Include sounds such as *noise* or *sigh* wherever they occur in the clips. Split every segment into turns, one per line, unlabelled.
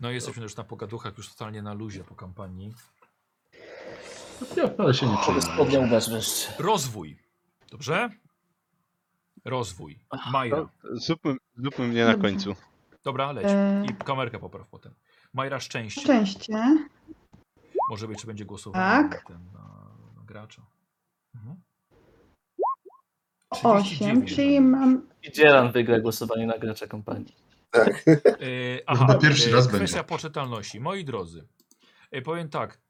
No jesteśmy już na pogaduchach, już totalnie na luzie po kampanii.
Ja wcale się nie
Żeby
czuję.
spodniał bez wreszcie.
Rozwój. Dobrze? Rozwój.
No,
Majra.
zróbmy, zróbmy mnie na końcu.
Dobra, leć.
E,
I kamerkę popraw potem. Majra szczęście.
szczęście.
Może być, czy będzie głosował na
Tak.
ten na, na gracza. Mhm.
8,
39.
czyli mam.
I Dzieran wygra głosowanie na gracza kampanii.
E, aha,
Chyba pierwszy
e,
raz
kwestia
będzie.
poczytalności. Moi drodzy, e, powiem tak.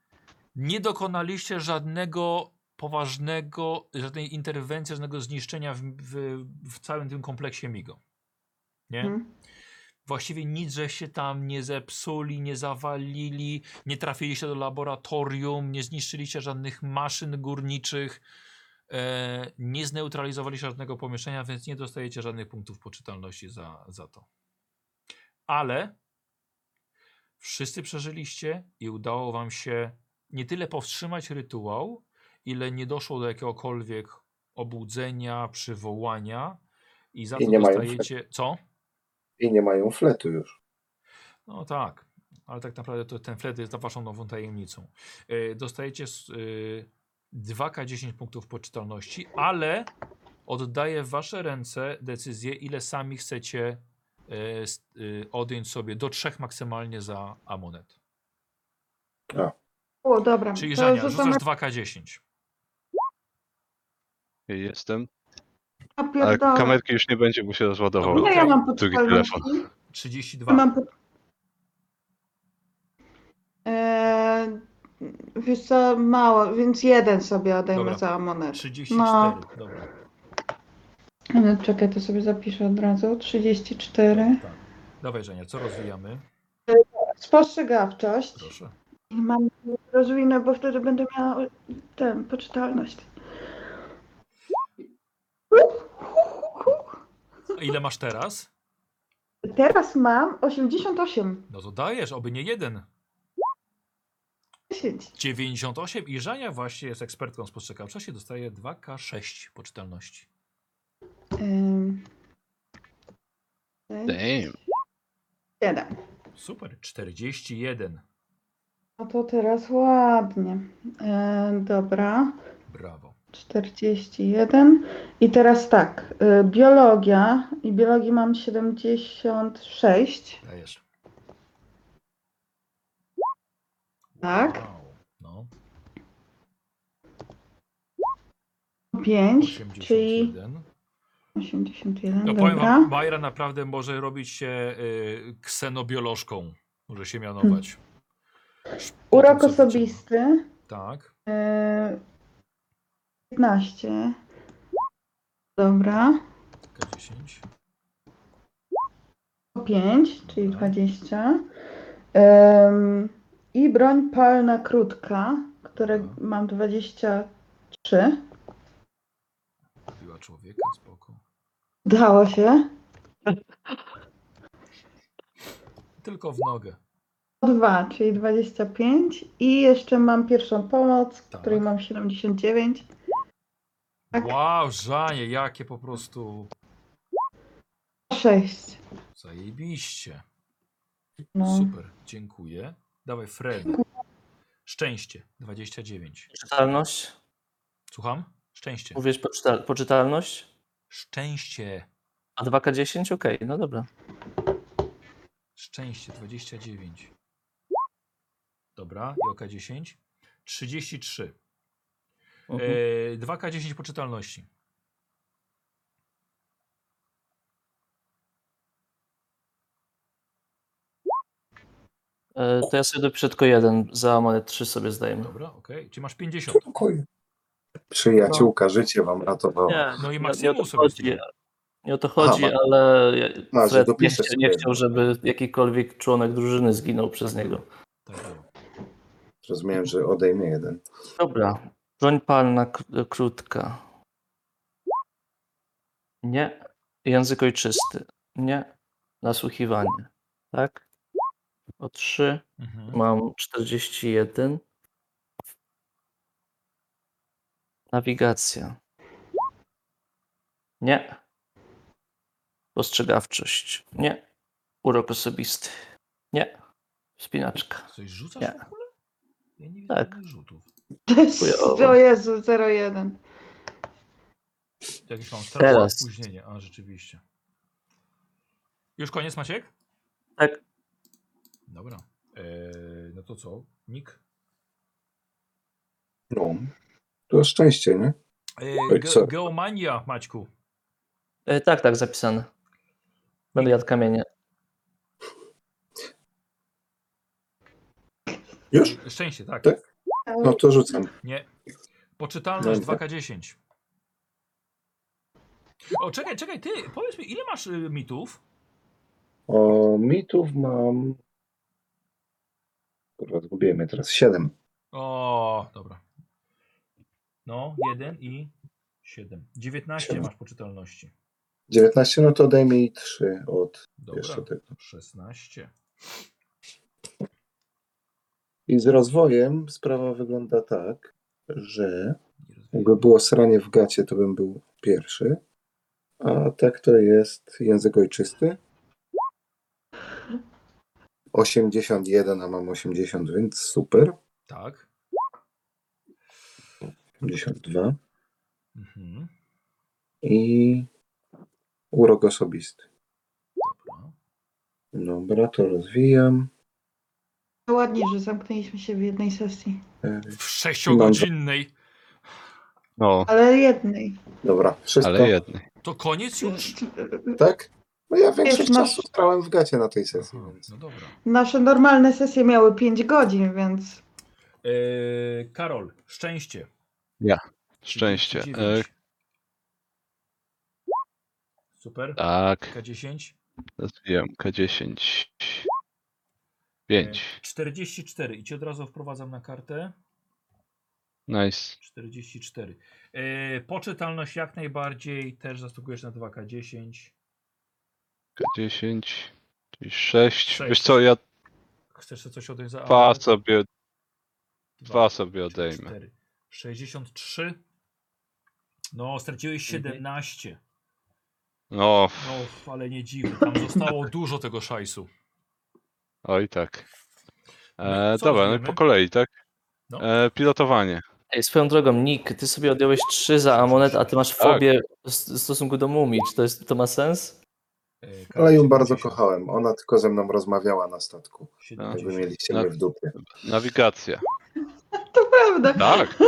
Nie dokonaliście żadnego poważnego, żadnej interwencji, żadnego zniszczenia w, w, w całym tym kompleksie MIGO. Nie?
Mhm.
Właściwie nic, że się tam nie zepsuli, nie zawalili, nie trafiliście do laboratorium, nie zniszczyliście żadnych maszyn górniczych, e, nie zneutralizowaliście żadnego pomieszczenia, więc nie dostajecie żadnych punktów poczytalności za, za to. Ale wszyscy przeżyliście i udało wam się nie tyle powstrzymać rytuał, ile nie doszło do jakiegokolwiek obudzenia, przywołania i za
I
to
nie mają
dostajecie... Co?
I nie mają fletu już.
No tak, ale tak naprawdę to ten flet jest waszą nową tajemnicą. E, Dostajecie s- y, 2K10 punktów poczytalności, ale oddaję w wasze ręce decyzję, ile sami chcecie e, s- y, odjąć sobie do trzech maksymalnie za amunet.
O, dobra.
Czyli
to
Żania,
rzucamy
rzucasz 2K10.
Jestem.
na
Ale
pierdolę.
kamerki już nie będzie, bo się rozładowało.
Ile No ja mam
Drugi
poczytalności?
32.
Ja mam pod... eee, wiesz co, mało, więc jeden sobie odejmę
Dobra.
za monetę.
34.
No.
Dobra.
No, czekaj, to sobie zapiszę od razu. 34.
Tak. Dawaj Żenia, co rozwijamy?
Spostrzegawczość.
Proszę.
I mam rozwinę, bo wtedy będę miała ten, poczytalność.
A Ile masz teraz?
Teraz mam 88.
No to dajesz, oby nie jeden.
10.
98 i Żania właśnie jest ekspertką spostrzegawczości, dostaje 2K6 poczytalności.
Ym,
Damn.
7.
Super, 41.
No to teraz ładnie. E, dobra.
Brawo.
41. I teraz tak. y, biologia. I biologii mam 76.
Dajesz.
Tak.
Wow. No,
5.
81.
Czyli
No
81.
powiem
Dobra.
wam, Majra naprawdę może robić się y, ksenobiolożką. Może się mianować. Sz- po
Hmm. Urok
tym, co
osobisty.
wyciągnę. Tak.
y, 15. Dobra.
K10.
Po 5, czyli
Dobra.
20. Ym, I broń palna krótka, które
Dobra.
mam 23.
Kupiła człowieka, spoko.
Udało się.
Tylko w nogę.
Dwa, czyli 25 i jeszcze mam pierwszą pomoc,
Tak.
której mam 79. Tak.
Wow, Żanie, jakie po prostu
6.
zajebiście.
No.
Super, dziękuję. Dawaj Fred. Szczęście, 29.
Poczytalność?
Słucham? Szczęście.
Mówisz poczytal poczytalność?
Szczęście.
A 2K10? Okej, no dobra.
Szczęście, 29. Dobra, i oka 10. 33.
Mhm.
E, 2K10 poczytalności.
E, to ja sobie dopiszę tylko jeden, za monet 3 sobie zdajemy.
Dobra, okej. Czy masz 50?
Spokojnie. Przyjaciółka życie wam ratowała.
Nie,
No i
nie-
Maksymum
nie o to
sobie
chodzi,
zdjął.
nie o to chodzi
Aha,
ale ja-
A, że
Fred nie
dopiszesz
chciał,
sobie.
nie chciał, żeby jakikolwiek członek drużyny zginął przez niego.
Tak było.
Rozumiem, że odejmie jeden.
Dobra, broń palna kró- krótka. Nie. Język ojczysty. Nie. Nasłuchiwanie. Tak? O 3.
Mhm.
Mam 41. Nawigacja. Nie. Postrzegawczość. Nie. Urok osobisty. Nie. Wspinaczka.
Coś rzucasz
Nie.
w ogóle? Ja nie widzę
Tak.
żadnych rzutów.
*laughs* O Jezu, 01.
Jakieś mam
Teraz.
teraz opóźnienie. A, rzeczywiście. Już koniec, Maciek?
Tak.
Dobra. Eee, no to co? Nik?
No. To szczęście, nie?
Eee,
Tak,
ge
co?
geomania, Maćku.
E, tak, tak, zapisane. Będę jadł kamienie.
Już?
Szczęście, tak.
Tak. No to rzucam.
Nie. Poczytalność
Nie.
2K10. O, czekaj, czekaj, ty, powiedz mi, ile masz y, mitów?
O, mitów mam... Kurwa, zgubiłem je teraz. Siedem.
O, dobra. No, 1 i 7. 19
Siedem.
masz poczytalności.
19, no to daj mi trzy od
Dobra,
jeszcze tak. tego.
16.
I z rozwojem sprawa wygląda tak, że
Nie rozumiem.
jakby było sranie w gacie, to bym był pierwszy. A tak to jest język ojczysty. 81, a mam 80, więc super.
Tak.
82.
Mhm.
I urok osobisty.
Dobra.
Dobra, to rozwijam.
To Ładnie, że zamknęliśmy się w jednej sesji.
E,
W sześciogodzinnej.
No,
Ale jednej.
Dobra, wszystko.
ale jednej.
To koniec już?
Tak? No ja większość
Jest nasz-
czasu spałem w gacie na tej sesji.
Aha,
Więc...
No dobra.
Nasze normalne sesje miały 5 godzin, więc
Eee, Karol, szczęście.
Szczęście. E,
39. Super.
tak,
K10.
rozwijam K10. 5.
44 E, i ci od razu wprowadzam na kartę.
Nice.
44. Yy, poczytalność jak najbardziej też zasługujesz na 2K10.
K10. Czyli 6.
Sześć.
Wiesz co, ja
Chcesz sobie coś odejść za.
dwa sobie,
dwa,
dwa sobie
trzy,
odejmę.
cztery. 63. No, straciłeś 17.
No,
No, ale nie dziwne. Tam
*laughs*
zostało dużo tego szajsu.
oj tak.
No
E,
i co
dobra, no i
rozumiemy?
po kolei, tak?
No.
E, pilotowanie.
Ej, swoją drogą, Nick, ty sobie odjąłeś 3 za amonet, a ty masz fobię w s- w stosunku do mumii. Czy to, jest, to ma sens?
Yy, Karol,
Ale ją bardzo
70.
kochałem. Ona tylko ze mną rozmawiała na statku. Jakby
70.
mieliście
No.
mnie w dupie.
Nawigacja.
to prawda.
Tak,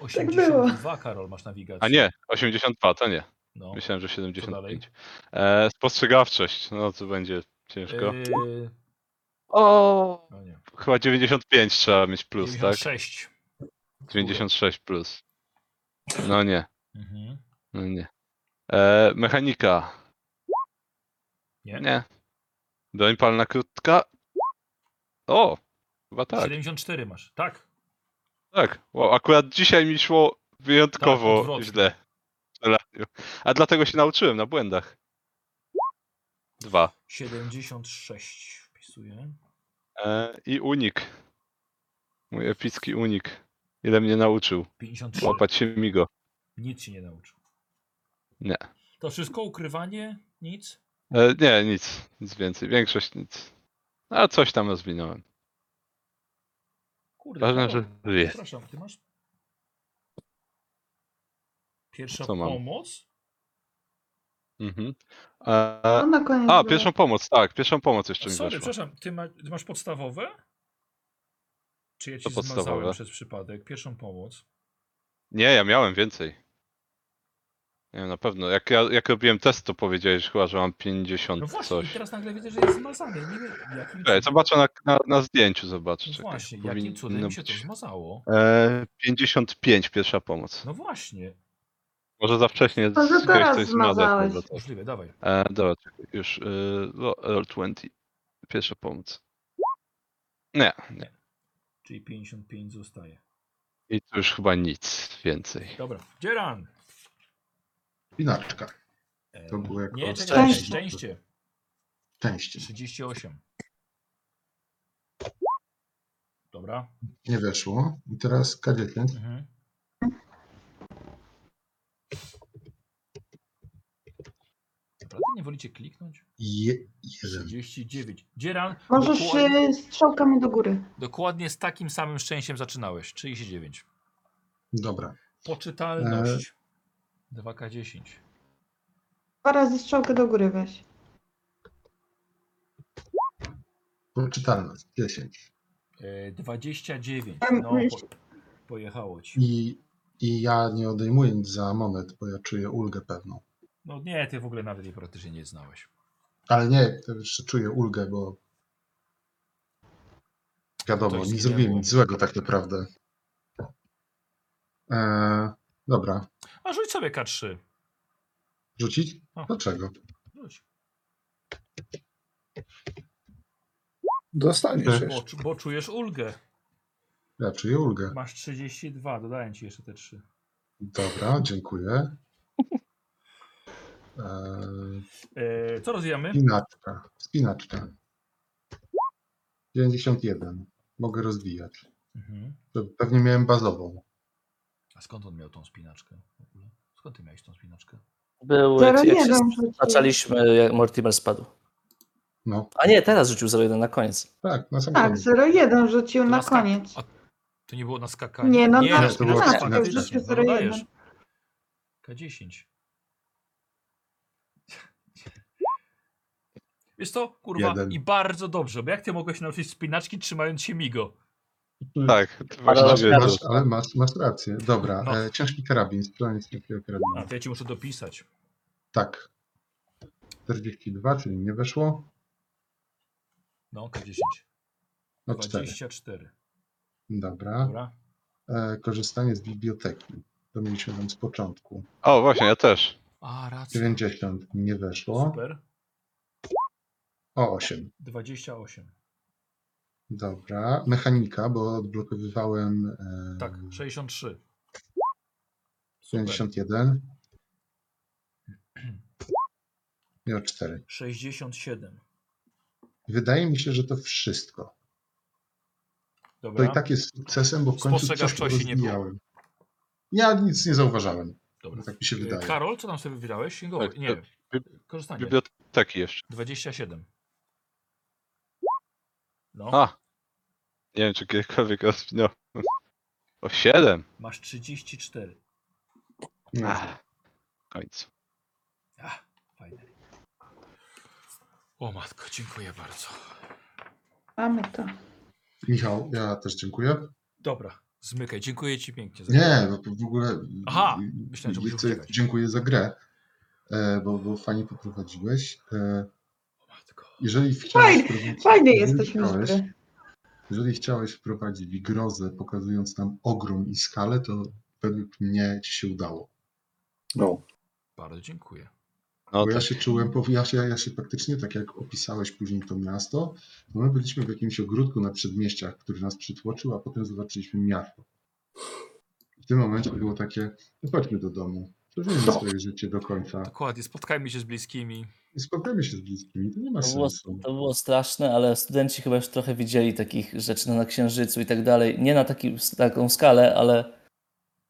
82 Karol masz nawigację.
a nie, 82 to nie.
No.
Myślałem, że
dalej?
75. E, spostrzegawczość, no to będzie ciężko.
Yy,
O,
no nie.
chyba 95 trzeba mieć plus, tak?
96.
96
*laughs*
plus. No nie,
Mhm.
no nie. E, mechanika.
Nie?
Nie. Broń palna krótka. O, chyba tak.
74 masz. Tak.
Tak, wow, akurat dzisiaj mi szło wyjątkowo
Tak, odwrotnie.
źle. w strzelaniu. A dlatego się nauczyłem na błędach. Dwa.
76 wpisuję.
E, I unik. Mój epicki unik. Ile mnie nauczył.
53.
Łapać się migo.
Nic się nie nauczył.
Nie.
To wszystko ukrywanie? Nic?
E, nie, nic. Nic więcej. Większość nic. A coś tam rozwinąłem.
Kurde.
Ważne,
Karol,
że żyję.
Przepraszam, ty masz. Pierwsza
Co mam?
pomoc?
Mhm. E,
No, na koniec
a,
było.
pierwszą pomoc, tak. Pierwszą pomoc jeszcze mi
Sorry,
weszła.
przepraszam, ty, ma, ty masz podstawowe? Czy ja ci
To
zmazałem
podstawowe.
przez przypadek? Pierwszą pomoc.
Nie, ja miałem więcej. Nie, na pewno. Jak, ja, jak robiłem test, to powiedziałeś chyba, że mam 50
No właśnie,
coś.
i teraz nagle widzę, że jest zmazane. Nie wiem, jakim
Czekaj, zobaczę na, na, na zdjęciu, zobaczę.
No
Czekaj,
właśnie, jakim
tak powinno
cudem mi się to
być.
zmazało?
E, 55 pierwsza pomoc.
No właśnie,
Może za wcześnie
Może
ktoś
teraz
coś zmaza.
zmazałeś.
możliwe, dawaj.
E, dobra, czekaj, już e, ro- roll 20. Pierwsza pomoc. Nie, nie.
Czyli 55 zostaje.
I tu już chyba nic więcej.
Dobra, Dzieran!
Spinaczka.
E,
To było jako
Nie, czekaj,
szczęście.
szczęście.
Częściej.
38. Dobra.
Nie weszło. I teraz K10.
Mhm. Naprawdę nie wolicie kliknąć?
Je, jeden.
39. Dzieran,
Możesz
dokładnie,
y, strzałkami do góry.
dokładnie z takim samym szczęściem zaczynałeś. 39.
Dobra.
E.
Poczytalność. 2K10.
Dwa razy strzałkę do góry weź.
Poczytalność 10.
E, 29.
Em,
No,
jeszcze-
po, pojechało ci.
I, I ja nie odejmuję nic za monet, bo ja czuję ulgę pewną.
No nie, ty w ogóle nawet jej praktycznie nie znałeś.
Ale nie, to jeszcze czuję ulgę, bo wiadomo,
Ktoś
nie
zginęło.
zrobiłem nic złego tak naprawdę. Eee, dobra.
A rzuć sobie K3.
Rzucić?
O.
Dlaczego?
Rzuć.
Tak.
Dostaniesz
Bo,
jeszcze.
bo czujesz ulgę.
Ja czuję ulgę.
Masz 32, dodaję ci jeszcze te 3.
Dobra, dziękuję. Eee,
E, co rozwijamy?
spinaczka. Spinaczka. 91. Mogę rozwijać.
Mhm.
To Pewnie miałem bazową.
A skąd on miał tą spinaczkę w ogóle? Skąd ty miałeś tą spinaczkę?
Był,
Zero
jak, jak się
jeden rzuciłeś.
zaczęliśmy, jak Mortimer spadł.
No,
A nie, teraz rzucił 0,1 na koniec.
tak, na sam
Tak,
koniec.
0,1 rzucił
To
na
na skak-
koniec.
A to nie było na skakanie?
Nie, no
na-
na
to było
skakanie,
na-
faktycznie,
na-
no,
na- na-
dodajesz.
na-
K10. Jest to, kurwa,
Jeden.
i bardzo dobrze, bo jak ty mogłeś nauczyć spinaczki trzymając się migo?
Tak, właśnie
Ale-
dziewięć.
Masz, ale masz, masz rację. Dobra,
No.
e, ciężki karabin, strzelanie z ciężkiego
A
karabinu.
to ja ci muszę dopisać.
Tak. 42, czyli nie weszło.
No, K10.
No 4.
24.
Dobra.
Dobra.
E, korzystanie z biblioteki. To mieliśmy tam z początku.
O, właśnie, ja też.
A, racja.
90 nie weszło.
Super.
O 8.
28.
Dobra. Mechanika, bo odblokowywałem e,
Tak, 63. Super.
51. Miał 4.
67.
Wydaje mi się, że to wszystko. To
Dobra.
i tak jest sukcesem, bo w końcu coś
Spostrzegawczości nie było.
rozwijałem. Ja nic nie zauważałem.
Dobra.
Tak mi się
Y,
wydaje.
Karol, co tam sobie wybrałeś? Go,
Tak,
nie,
bi-
korzystanie.
Biblioteki jeszcze.
27. No,
A! Nie wiem, czy kiedykolwiek rozwinąłem. O 7!
masz 34.
Nie.
W końcu.
Ach, fajne. O matko, dziękuję bardzo.
Mamy to.
Michał, ja też dziękuję.
Dobra, zmykaj. Dziękuję ci pięknie. Za
Nie, bo w ogóle.
Aha,
m,
myślałem, że
i
będziesz
chcę-
uciekać.
Dziękuję za grę, e, bo, bo fajnie poprowadziłeś. E,
O matko.
Jeżeli chciałeś.
Fajny-
wprowadzić-
Fajny
jeżeli
jesteśmy z
chciałeś-
gry.
Jeżeli chciałeś wprowadzić grozę, pokazując nam ogrom i skalę, to według mnie ci się udało.
No.
Bardzo dziękuję.
No
Bo ja
tak.
się czułem, pow- ja się, ja się praktycznie, tak jak opisałeś później to miasto, no my byliśmy w jakimś ogródku na przedmieściach, który nas przytłoczył, a potem zobaczyliśmy miasto. W tym momencie było takie, no chodźmy do domu, przeżyjmy
No.
swoje życie do końca
Dokładnie, spotkajmy się z bliskimi.
i spotkajmy się z bliskimi, to nie ma
To było,
sensu.
to było straszne, ale studenci chyba już trochę widzieli takich rzeczy no, na Księżycu i tak dalej. Nie na taki, taką skalę, ale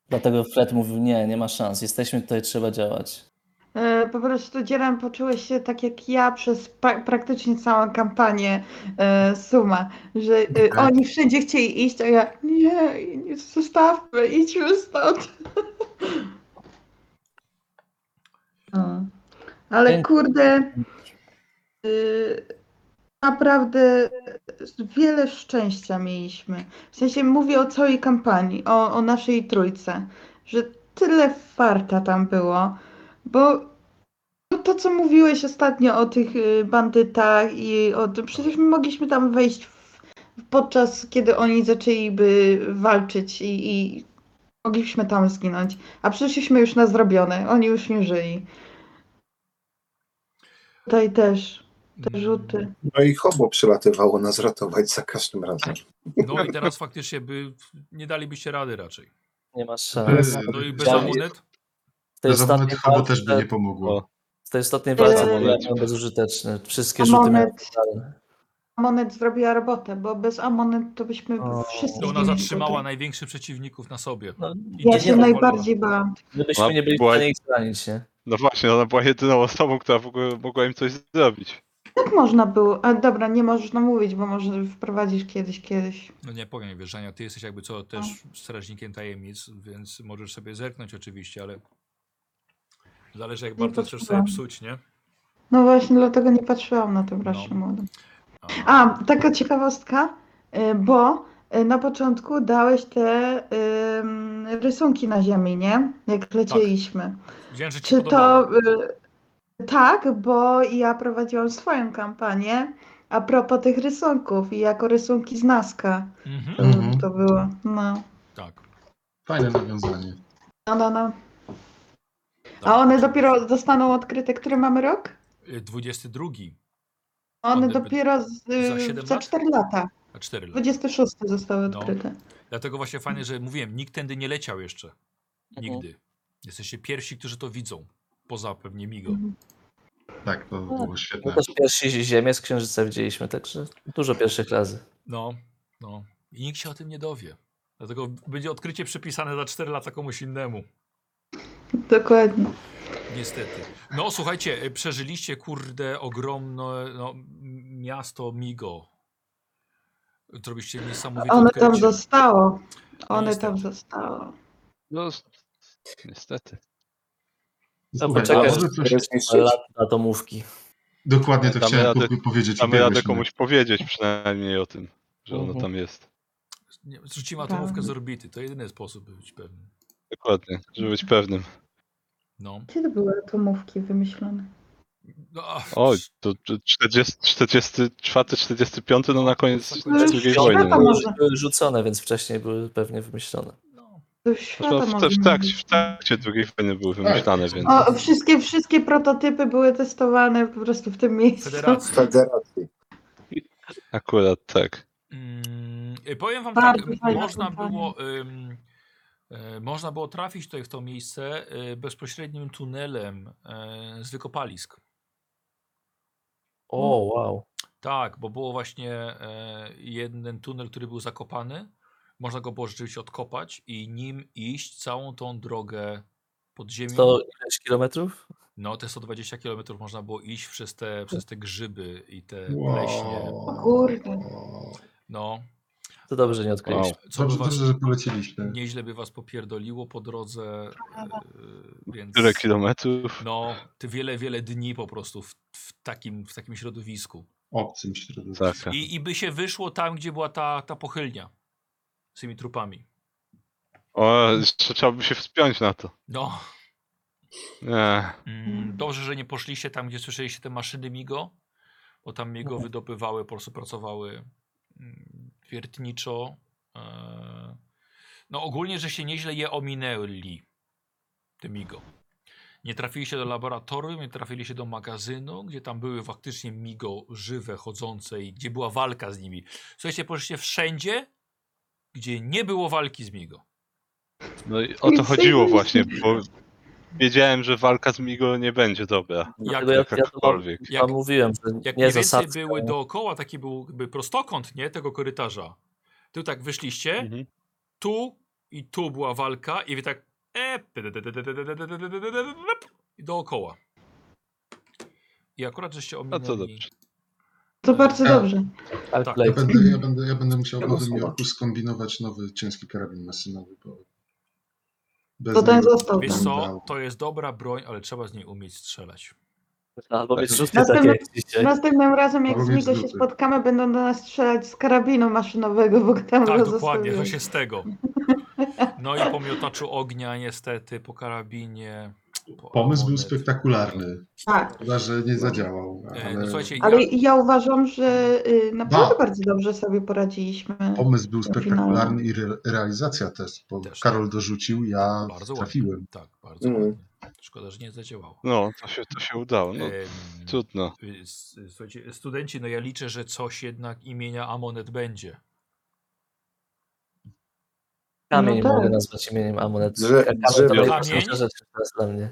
dlatego Fred mówił, nie, nie ma szans, jesteśmy tutaj, trzeba działać.
E, Po prostu dzielam poczułeś się tak jak ja przez pa- praktycznie całą kampanię e, Suma, że e,
Okej.
oni wszędzie chcieli iść, a ja nie, nie zostawmy, idźmy stąd. *laughs* No. Ale
Dzięki.
kurde, y, naprawdę wiele szczęścia mieliśmy. W sensie mówię o całej kampanii, o, o naszej trójce, że tyle farta tam było, bo no to, co mówiłeś ostatnio o tych y, bandytach i o tym, przecież my mogliśmy tam wejść w, podczas, kiedy oni zaczęliby walczyć i, i mogliśmy tam zginąć, a przyszliśmy już na zrobione, oni już nie żyli. Tutaj też, te
Mm,
rzuty.
no i hobo przylatywało nas ratować za każdym razem.
Tak,
No i teraz faktycznie by nie dalibyście rady raczej.
Nie ma szans.
No i bez
Ja-
amulet?
W tej
Zapewne
ostatniej
chyba też by
walce-
nie pomogło.
w tej ostatniej walce
Eee.
były bezużyteczne. Wszystkie
A
rzuty miały
moment.
skalę.
Amonet zrobiła robotę, bo bez Amonet to byśmy
O.
wszyscy...
To ona
zginęli
zatrzymała
tutaj.
największych przeciwników na sobie.
no,
I
Ja
dzieci
się
powolne.
najbardziej bałam.
Gdybyśmy nie byli w
Była-
stanie ich zranić, nie?
No właśnie, ona była jedyną osobą, która w ogóle mogła im coś zrobić.
Jak Tak można było? A dobra, nie możesz namówić, bo może wprowadzisz kiedyś, kiedyś.
No nie powiem, wiesz, Żania, ty jesteś jakby co też
No.
strażnikiem tajemnic, więc możesz sobie zerknąć oczywiście, ale zależy jak
Nie
bardzo chcesz sobie
patrzyłam.
psuć, nie?
No właśnie, dlatego nie patrzyłam na to wreszcie
No.
młodym.
A,
A, taka ciekawostka, y, bo y, na początku dałeś te ym, rysunki na ziemi, nie? Jak lecieliśmy.
Widziałem, Tak. że ci
Czy
podobało.
to y, tak, bo ja prowadziłam swoją kampanię a propos tych rysunków i jako rysunki z Naska
Mhm,
y,
Mhm.
to było. No,
tak.
Fajne nawiązanie.
no, no. no.
tak.
A one dopiero zostaną odkryte, który mamy rok?
Y, 22,
One
One by-
dopiero z,
za
y,
siedem
za
lat?
4 lata.
a 4 lata.
26 zostały
No.
odkryte.
Dlatego właśnie fajnie, że mówiłem, nikt tędy nie leciał jeszcze.
Mhm.
Nigdy. Jesteście pierwsi, którzy to widzą. Poza pewnie Migo.
Mhm.
Tak, to było świetne.
No też pierwsi ziemię z księżyca widzieliśmy, także dużo pierwszych razy.
No, no. I nikt się o tym nie dowie. Dlatego będzie odkrycie przypisane za 4 lata komuś innemu.
Dokładnie.
Niestety. No słuchajcie, y, przeżyliście kurde ogromne no, m- miasto Migo. Zrobiliście niesamowite
One tam
odkrycie.
zostało. One
niestety.
tam zostało.
No, s- niestety.
No
Słuchaj,
poczekaj,
a może
że-
coś,
Lat atomówki.
dokładnie to
Damy
chciałem
radę-
Kuby powiedzieć.
Damy radę
Biegłeś na-
komuś powiedzieć przynajmniej o tym, że ona
Mhm.
tam jest.
Nie, Zrzucimy atomówkę
Tak.
z orbity. To jedyny sposób, by być pewny.
Dokładnie, żeby być pewnym.
No.
Kiedy były atomówki wymyślone?
no a-
O, to 40, 44, 45, no na koniec
No,
drugiej
świata
wojny.
może.
No.
Były rzucone, więc wcześniej były pewnie wymyślone.
no.
To już świata
Zresztą w, w,
można
trakcie,
było.
w tak. trakcie drugiej wojny były wymyślane, więc...
O, wszystkie, wszystkie prototypy były testowane po prostu w tym miejscu.
Federacja.
Federacji.
Akurat tak.
Mm, y, powiem wam
Bardzo
tak,
fajne
można
spotkanie.
było, ym, y, można było trafić tutaj w to miejsce y, bezpośrednim tunelem y, z wykopalisk.
O,
No.
wow.
Tak, bo było właśnie e, jeden tunel, który był zakopany. Można go było rzeczywiście odkopać i nim iść całą tą drogę pod ziemią.
100 ileś kilometrów?
No te 120 km można było iść przez te, przez te grzyby i te
Wow.
leśnie.
O kurde.
No,
To dobrze, nie odkryliśmy.
co znaczy? by
Dobrze,
was,
dobrze, że polecieliśmy.
nieźle by was popierdoliło po drodze, e, więc
Tyle kilometrów.
no, ty wiele, wiele dni po prostu w, w, takim, w takim środowisku.
Obcym środowisku.
Tak.
I, I by się wyszło tam, gdzie była ta, ta pochylnia z tymi trupami.
O, jeszcze trzeba by się wspiąć na to.
No.
Nie.
Mm, Dobrze, że nie poszliście tam, gdzie słyszeliście te maszyny Migo, bo tam Migo wydobywały, po prostu pracowały mm, wiertniczo. e, No ogólnie, że się nieźle je ominęli, te Migo. Nie trafiliście do laboratorium, nie trafiliście do magazynu, gdzie tam były faktycznie Migo żywe, chodzące i gdzie była walka z nimi. Słuchajcie, poszliście wszędzie, gdzie nie było walki z Migo.
No i o to chodziło właśnie, bo wiedziałem, że walka z Migo nie będzie dobra.
Dlatego
Jak-
ja, ja to wam,
Jakakolwiek.
Jak-
wam mówiłem, że
Jak
nie
mniej więcej
zasadzka.
były dookoła, taki był jakby prostokąt, nie? Tego korytarza. Tu tak wyszliście,
Mhm.
tu i tu była walka i wy tak e, i dookoła. I akurat żeście
No to
ominęli.
dobrze.
To bardzo
Tak.
dobrze.
Tak,
tak.
Ja
Blade.
będę, ja, będę, ja będę musiał
Ja
w Nowym
mam
Jorku skombinować nowy ciężki karabin maszynowy, bo bez
To ten
niego
został
nie
Wiesz co,
dało.
to jest dobra broń, ale trzeba z niej umieć strzelać.
Albo mieć szóstkę takie
Następnym,
jak
Tak.
dzisiaj.
następnym razem, jak z
Albo mieć
Migo się
zupy.
spotkamy, będą do nas strzelać z karabinu maszynowego, bo tam
Tak,
go
dokładnie, to
zostawili.
się z tego. No i po miotaczu ognia niestety, po karabinie. Po
Pomysł był
amonet.
spektakularny.
Tak.
Szkoda, że nie zadziałał,
E, no
ale
słuchajcie, ja,
Ale ja uważam, że y, naprawdę
Ba.
bardzo dobrze sobie poradziliśmy.
pomysł był spektakularny i re, realizacja też, bo
Też.
Karol dorzucił, ja
bardzo ładnie.
trafiłem.
Tak, bardzo
Mm.
Mhm.
ładnie. Szkoda, że nie zadziałało.
No, to się, to się udało.
E-
No,
Em,
trudno.
Y, s- y, Słuchajcie, studenci, no ja liczę, że coś jednak imienia Amonet będzie.
Kamień
No tak.
mogę nazwać imieniem Amunet.
Drze-
Kamień to
drzewo.
najważniejsza
Kamień?
rzecz teraz dla mnie.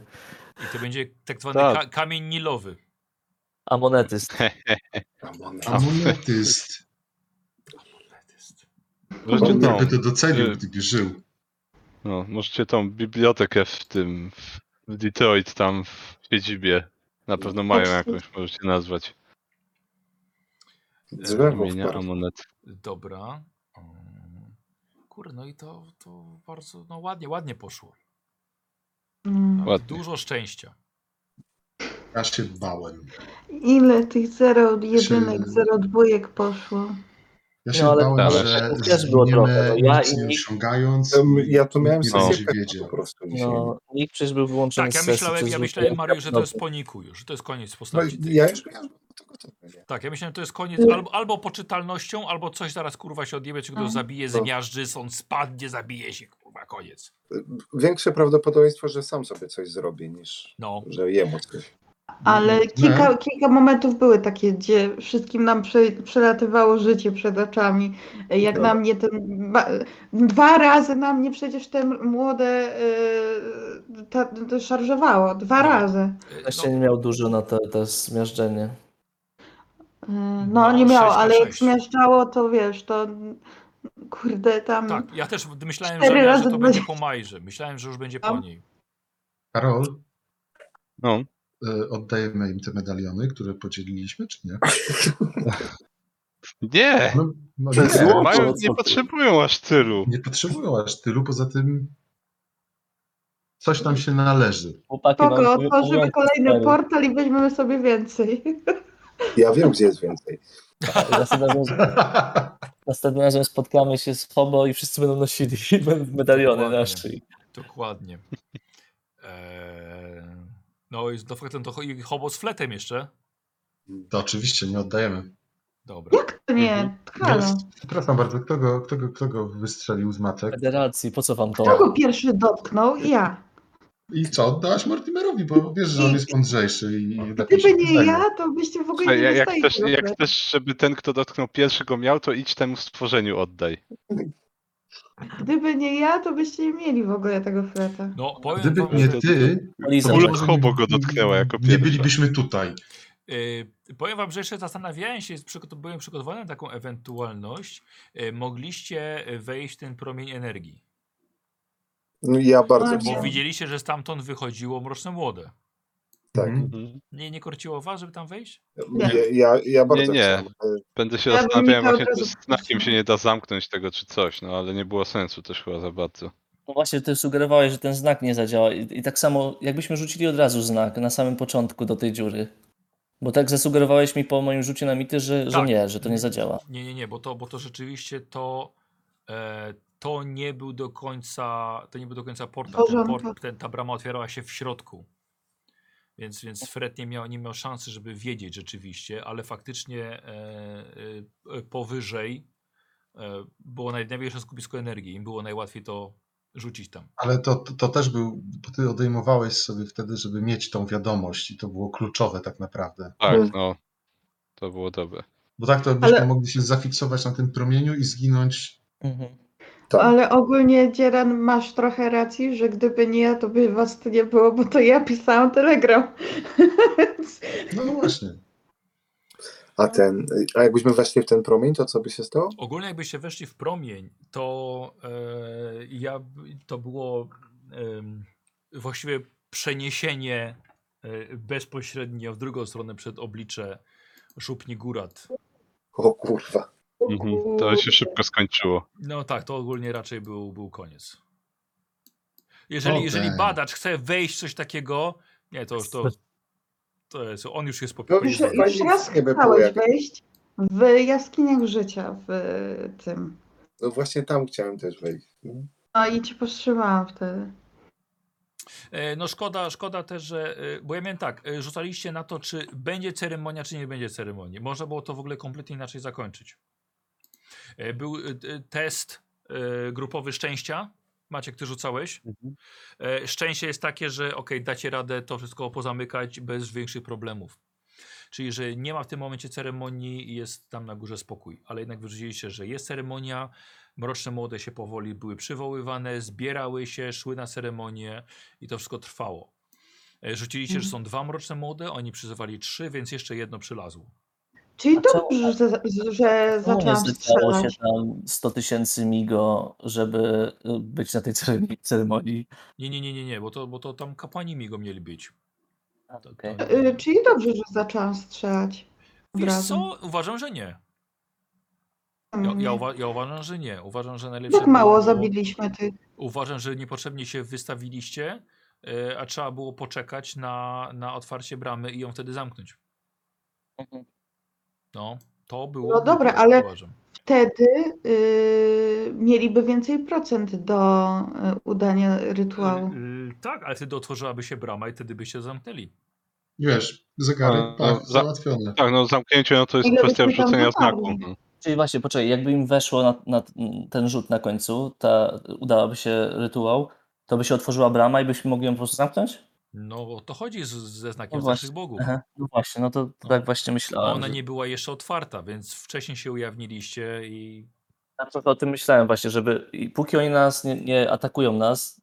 I to będzie tak zwany
Tak.
ka kamień nilowy.
Amonetyst.
Amona.
Amonetyst.
*laughs* Możecie
No.
tą,
Jakby to docenił,
Y-
gdyby żył.
no, możecie tą bibliotekę w tym w w Detroit tam w siedzibie. Na pewno mają jakąś, możecie nazwać.
Drzewo
Imienia
wpadł.
Amunet.
Dobra. Mm. Kurde, no i to, to bardzo no ładnie, ładnie poszło.
Mm.
Ładnie.
Dużo szczęścia.
Ja się bałem.
Ile tych zero jedynek,
Czy-
zero dwójek poszło?
Ja się
No, ale
bałem,
tak,
że
to też było
zginiemy,
trochę, no ja
nic
i
nie
nikt-
osiągając.
Em, Ja to miałem
Nikt
nie
sesję
będzie
pecha
wiedział.
po prostu dzisiaj.
No, nikt przecież był wyłączony
Tak, ja
z sesji
myślałem, ja
przez zwykłe-
myślałem Mariusz, że to jest po niku już, że to jest koniec
No,
postaci. tej.
ja już miałem to gotowe.
Tak, ja myślałem, że to jest koniec
Nie.
albo, albo poczytalnością, albo coś zaraz kurwa się odjebie, czy go
Mhm.
zabije,
No.
zmiażdży, sąd spadnie, zabije się, kurwa, koniec.
Większe prawdopodobieństwo, że sam sobie coś zrobi, niż
No,
że jemu coś.
Ale
Mhm.
Nie.
kilka, kilka momentów były takie, gdzie wszystkim nam prze, przelatywało życie przed oczami. Jak
Tak.
na mnie ten. Ba, dwa razy na mnie przecież te młode y, ta, to szarżowało. Dwa
No.
razy.
e,
Znaczy,
Właśnie
no,
nie miał dużo na to, to zmiażdżenie.
Y, no,
No,
nie miało,
sześć na
ale jak
sześć.
zmieszczało, to wiesz, to kurde tam.
tak, ja też myślałem,
Cztery
że, że
razy
to będzie
dwadzieścia.
po Majrze, myślałem, że już będzie
No.
po niej.
Karol,
No,
y, oddajemy im te medaliony, które podzieliliśmy, czy nie?
nie!
No, no
To jest
nie,
złoto.
Mają,
co
nie
ty?
potrzebują aż tylu.
nie potrzebują aż tylu, poza tym coś tam się należy. *laughs*
Chłopaki wam
Spoko,
powie- powiedzą,
otworzymy kolejny
stary.
portal i weźmiemy sobie więcej. *laughs*
Ja wiem, gdzie jest więcej.
Następnym razem- Następnym razem spotkamy się z Hobo i wszyscy będą nosili *laughs* medaliony
Dokładnie.
na szyi.
Dokładnie. Eee, no i z Dofletem to cho- i hobo z fletem jeszcze.
To oczywiście nie oddajemy.
Dobra.
Jak to nie?
Mhm.
Halo.
No.
Jest, przepraszam bardzo, kto go, kto, go, kto go wystrzelił z matek?
Federacji, po co wam to?
Kto go pierwszy dotknął? Ja.
I co, oddałaś Mortimerowi, bo wiesz, że on jest mądrzejszy i lepiej się
Gdyby nie
poznaje.
ja, to byście w ogóle
Słuchaj,
nie
ja- jak
dostali
chcesz,
tego
jak
fletu.
chcesz, żeby ten, kto dotknął pierwszego miał, to idź temu stworzeniu oddaj.
Gdyby nie ja, to byście nie mieli w ogóle tego fleta.
No, powiem
Gdyby
wam,
nie
że,
ty,
W
Liza,
ogóle
może
Hobo
nie-
go dotknęła jako
nie
pierwsza.
bylibyśmy tutaj.
e, powiem wam, że jeszcze zastanawiałem się, przygot- byłem przygotowany na taką ewentualność. E, mogliście wejść w ten promień energii,
No, ja bardzo
bo
Bo Tak.
chciałem.
widzieliście, że stamtąd wychodziło mroczne młode.
Tak.
Mhm.
Nie, nie korciło was, żeby tam wejść?
Ja, ja, ja bardzo
Nie, nie.
chciałem. e,
Będę się
Ja bym
zastanawiał
Michała
właśnie,
od
czy
razu
z znakiem się
puściła.
nie da zamknąć tego czy coś, no ale nie było sensu też chyba za bardzo.
No właśnie, ty sugerowałeś, że ten znak nie zadziała. I, I tak samo, jakbyśmy rzucili od razu znak na samym początku do tej dziury. Bo tak zasugerowałeś mi po moim rzucie na mity, że, że
Tak.
nie, że to nie zadziała.
Nie, nie, nie, bo to, bo to rzeczywiście to, e, to nie był do końca, to nie był do końca portal. Ten
Porządek.
port, ten, ta brama otwierała się w środku. Więc, więc Fred nie miał, nie miał szansy, żeby wiedzieć rzeczywiście, ale faktycznie e, e, e, powyżej e, było naj, największe skupisko energii. Im było najłatwiej to rzucić tam.
Ale to, to, to też był, bo ty odejmowałeś sobie wtedy, żeby mieć tą wiadomość i to było kluczowe tak naprawdę.
Tak,
Mm.
no. To było dobre.
Bo tak to byśmy
Ale-
mogli się zafiksować na tym promieniu i zginąć.
Mhm.
Tak.
Ale ogólnie, Dzieran, masz trochę racji, że gdyby nie ja, to by was tu nie było, bo to ja pisałam telegram. Więc
No właśnie.
A ten, a jakbyśmy weszli w ten promień, to co by się stało?
Ogólnie jakbyście weszli w promień, to e, ja, to było em, właściwie przeniesienie e, bezpośrednio w drugą stronę przed oblicze szupni górat.
O kurwa.
Mm-hmm.
Mhm. To się szybko skończyło.
No tak, to ogólnie raczej był, był koniec. Jeżeli,
Okej.
jeżeli badacz chce wejść w coś takiego, nie, to już to, to jest, on już jest po
No
już
Już,
jest-
już raz
Nie by było
chciałeś
jak-
wejść w jaskiniach życia w tym.
No właśnie tam chciałem też wejść.
No i cię powstrzymałam wtedy.
E, No szkoda, szkoda też, że, e, bo ja miałem tak, e, rzucaliście na to, czy będzie ceremonia, czy nie będzie ceremonii. Można było to w ogóle kompletnie inaczej zakończyć. E, Był e, e, test e, grupowy szczęścia. Maciek, ty rzucałeś. E, Szczęście jest takie, że ok, dacie radę to wszystko pozamykać bez większych problemów. Czyli, że nie ma w tym momencie ceremonii i jest tam na górze spokój. Ale jednak wyrzuciliście, że jest ceremonia, mroczne młode się powoli były przywoływane, zbierały się, szły na ceremonię i to wszystko trwało.
Mhm.
E, Rzuciliście, że są dwa mroczne młode, oni przyzywali trzy, więc jeszcze jedno przylazło.
Czyli
A czemu-
dobrze, że, za- że
Czemu nie
zaczęłam
zlecało się
strzelać.
tam 100 tysięcy migo, żeby y, być na tej ceremonii- ceremonii?
Nie, nie, nie, nie, nie, bo to, bo to tam kapłani mi go mieli być. To-
Okej.
to-
Y, Czyli dobrze, że zaczęłam strzelać. Od
Wiesz
razu. Mm.
co? Uważam, że nie. Ja, ja, uwa- ja uważam, że nie. Uważam, że najlepsze
Mhm. Jak mało
było-
zabiliśmy tych.
Uważam, że niepotrzebnie się wystawiliście, e, a trzeba było poczekać na, na otwarcie bramy i ją wtedy zamknąć.
Mhm.
No, to było.
No dobra,
głupie,
ale-
Uważam.
Wtedy y, mieliby więcej procent do y, udania rytuału.
L- tak, ale wtedy otworzyłaby się brama i wtedy byście zamknęli.
Wiesz, zegarek,
A, no,
pach,
za-
załatwione.
Tak, no zamknięcie no to jest
Ile
kwestia
byśmy tam
wrzucenia
dotarli?
znaku. No.
Czyli właśnie, poczekaj, jakby im weszło na, na ten rzut na końcu, ta, udałaby się rytuał, to by się otworzyła brama i byśmy mogli ją po prostu zamknąć?
No o to chodzi z, ze znakiem
No
no
właśnie.
naszych bogów.
Aha, no właśnie, no to tak właśnie
A
myślałem.
ona
że-
nie była jeszcze otwarta, więc wcześniej się ujawniliście i.
Ja tak trochę o tym myślałem właśnie, żeby i póki oni nas nie, nie atakują nas,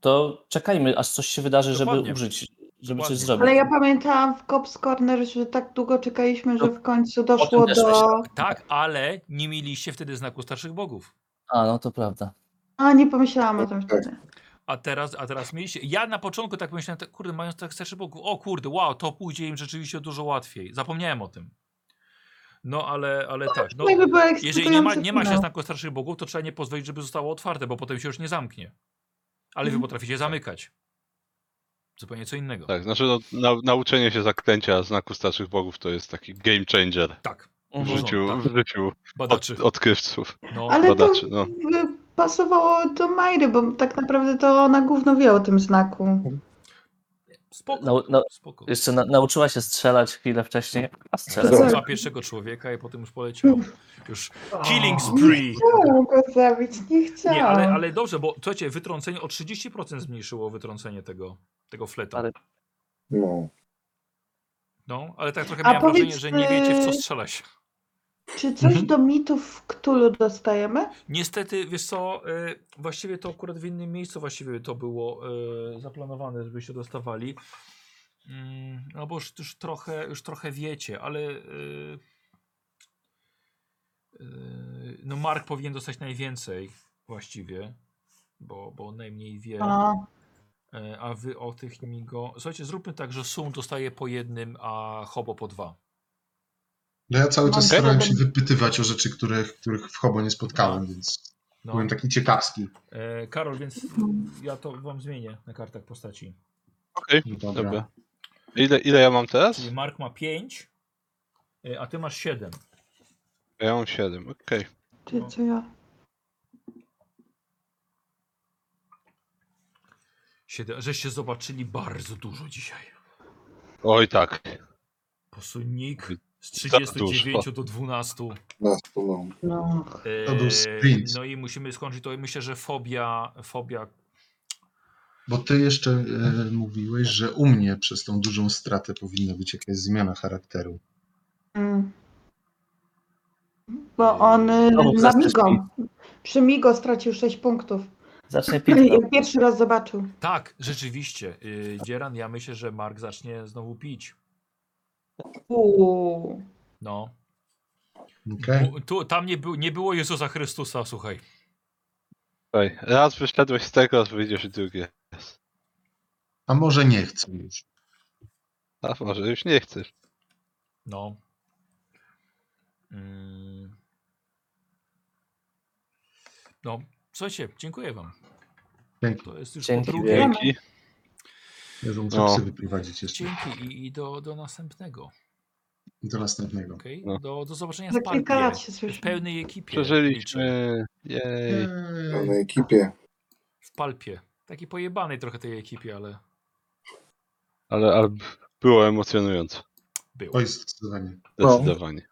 to czekajmy, aż coś się wydarzy,
Dokładnie.
żeby użyć, żeby
Dokładnie.
coś zrobić.
Ale ja pamiętałam w Cops Corner, że tak długo czekaliśmy, że w końcu
O
doszło
tym też
do.
myślałem.
Tak, ale nie mieliście wtedy znaku starszych bogów.
A, no to prawda.
A nie pomyślałam o tym
Tak.
wtedy.
A teraz, a teraz mieliście. Ja na początku tak myślałem, tak, kurde, mając tak starszy Bogów, o kurde, wow, to pójdzie im rzeczywiście dużo łatwiej. Zapomniałem o tym. No ale, ale tak. No,
No, jakby była
jeżeli nie ma,
ekscytujący
nie ma się
finał.
znaku starszych bogów, to trzeba nie pozwolić, żeby zostało otwarte, bo potem się już nie zamknie. Ale wy
Mhm.
potraficie zamykać. Zupełnie co innego.
Tak, znaczy no, na, nauczenie się zaklęcia znaku starszych bogów to jest taki game changer
Tak,
w
Mhm.
życiu,
Tak. Znaczy.
w życiu od,
badaczy.
odkrywców,
No,
Ale to
badaczy. No.
y, pasowało do Majry, bo tak naprawdę to ona gówno wie o tym znaku.
spoko.
Nau- nau-
spoko.
jeszcze na, nauczyła się strzelać chwilę wcześniej, a strzela.
Zobacz.
Za pierwszego człowieka i potem już poleciał. Już killing spree.
Tak.
Chciałam go zabić, nie chciałam.
Nie, ale, ale dobrze, bo słuchajcie, wytrącenie o 30% zmniejszyło wytrącenie tego, tego fleta.
Ale-
No.
No, ale tak trochę
A
miałem wrażenie,
powiedz,
że nie wiecie w co
y-
strzelać.
Czy coś
Mhm.
do mitów w Cthulhu dostajemy?
Niestety, wiesz co, y, właściwie to akurat w innym miejscu właściwie to było y, zaplanowane, żebyście dostawali. Mm, No bo już, już, trochę, już trochę wiecie, ale y, y, no Mark powinien dostać najwięcej właściwie, bo, bo on najmniej wie.
A,
E, A wy o tych migo. Słuchajcie, zróbmy tak, że Sum dostaje po jednym, a Hobo po dwa.
No ja cały czas
Okej.
starałem się wypytywać o rzeczy, których, których w Hobo nie spotkałem, więc
No.
byłem taki ciekawski.
E, Karol, więc ja to wam zmienię na kartach postaci.
Okej,
No
dobra. Ile, ile ja mam teraz?
Czyli Mark ma 5, a ty masz 7.
Ja mam 7, okej.
czy co ja?
7. Żeście zobaczyli bardzo dużo dzisiaj.
Oj tak.
Posunik z
Tak
39 do 12.
Nas tu mam.
No.
E,
To był sprint.
No i musimy skończyć to. Myślę, że fobia, fobia
Bo ty jeszcze e, mówiłeś, że u mnie przez tą dużą stratę powinna być jakaś zmiana charakteru.
Mm. Bo on y,
No, bo
na
zastrzyk-
Migo. Przy Migo stracił 6 punktów.
Zacznie pić.
Jak Pierwszy raz zobaczył.
Tak, rzeczywiście. Yy, Dzieran, ja myślę, że Mark zacznie znowu pić.
Uuu.
No.
Okej?
U- Tu, tam nie, był, nie było Jezusa Chrystusa, słuchaj.
Oj, raz wyszedłeś z tego, raz wyjdziesz i drugie.
A może nie chcę już.
A może już nie chcesz.
No. Mm. No, słuchajcie, dziękuję wam.
Dzięki.
To jest już
Dzięki.
po drugie.
Dzięki.
Ja to muszę
No.
psy wyprowadzić jeszcze.
Dzięki i, i do, do następnego.
Do następnego.
Okay?
No.
Do, do zobaczenia
Za
z
kilka lat
partią.
się
W
słyszy.
pełnej ekipie. liczę.
Przeżyliśmy. Jej.
No,
Eee,
na ekipie.
W palpie. Taki pojebanej trochę tej ekipie, ale
Ale, ale było emocjonujące.
był.
Oj, zdecydowanie.
No.
Zdecydowanie.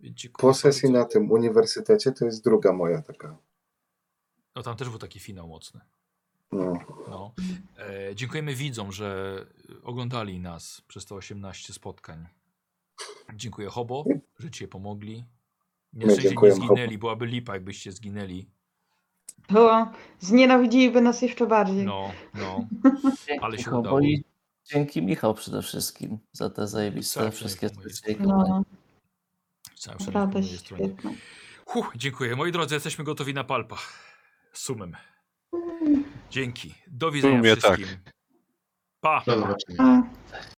Dziękuję
Po sesji
bardzo.
na tym uniwersytecie to jest druga moja taka.
No tam też był taki finał mocny.
No.
No. E, dziękujemy widzom, że oglądali nas przez te 18 spotkań. Dziękuję Hobo, że cię pomogli. Nie,
My
że nie
dziękujemy,
zginęli, byłaby lipa, jakbyście zginęli.
To znienawidziliby nas jeszcze bardziej.
No, no. Ale się
Dzięki,
udało.
Bo i dzięki Michał przede wszystkim za te zajebiste
Tak,
wszystkie
dzięki, moje
specjalne.
No.
Rzucałem szalenie po
Naprawdę
mojej stronie.
świetne.
Huh, dziękuję. Moi drodzy, jesteśmy gotowi na palpa. Z Sumem. Dzięki. Do widzenia
sumie tak.
wszystkim. Pa.
Do zobaczenia.
A,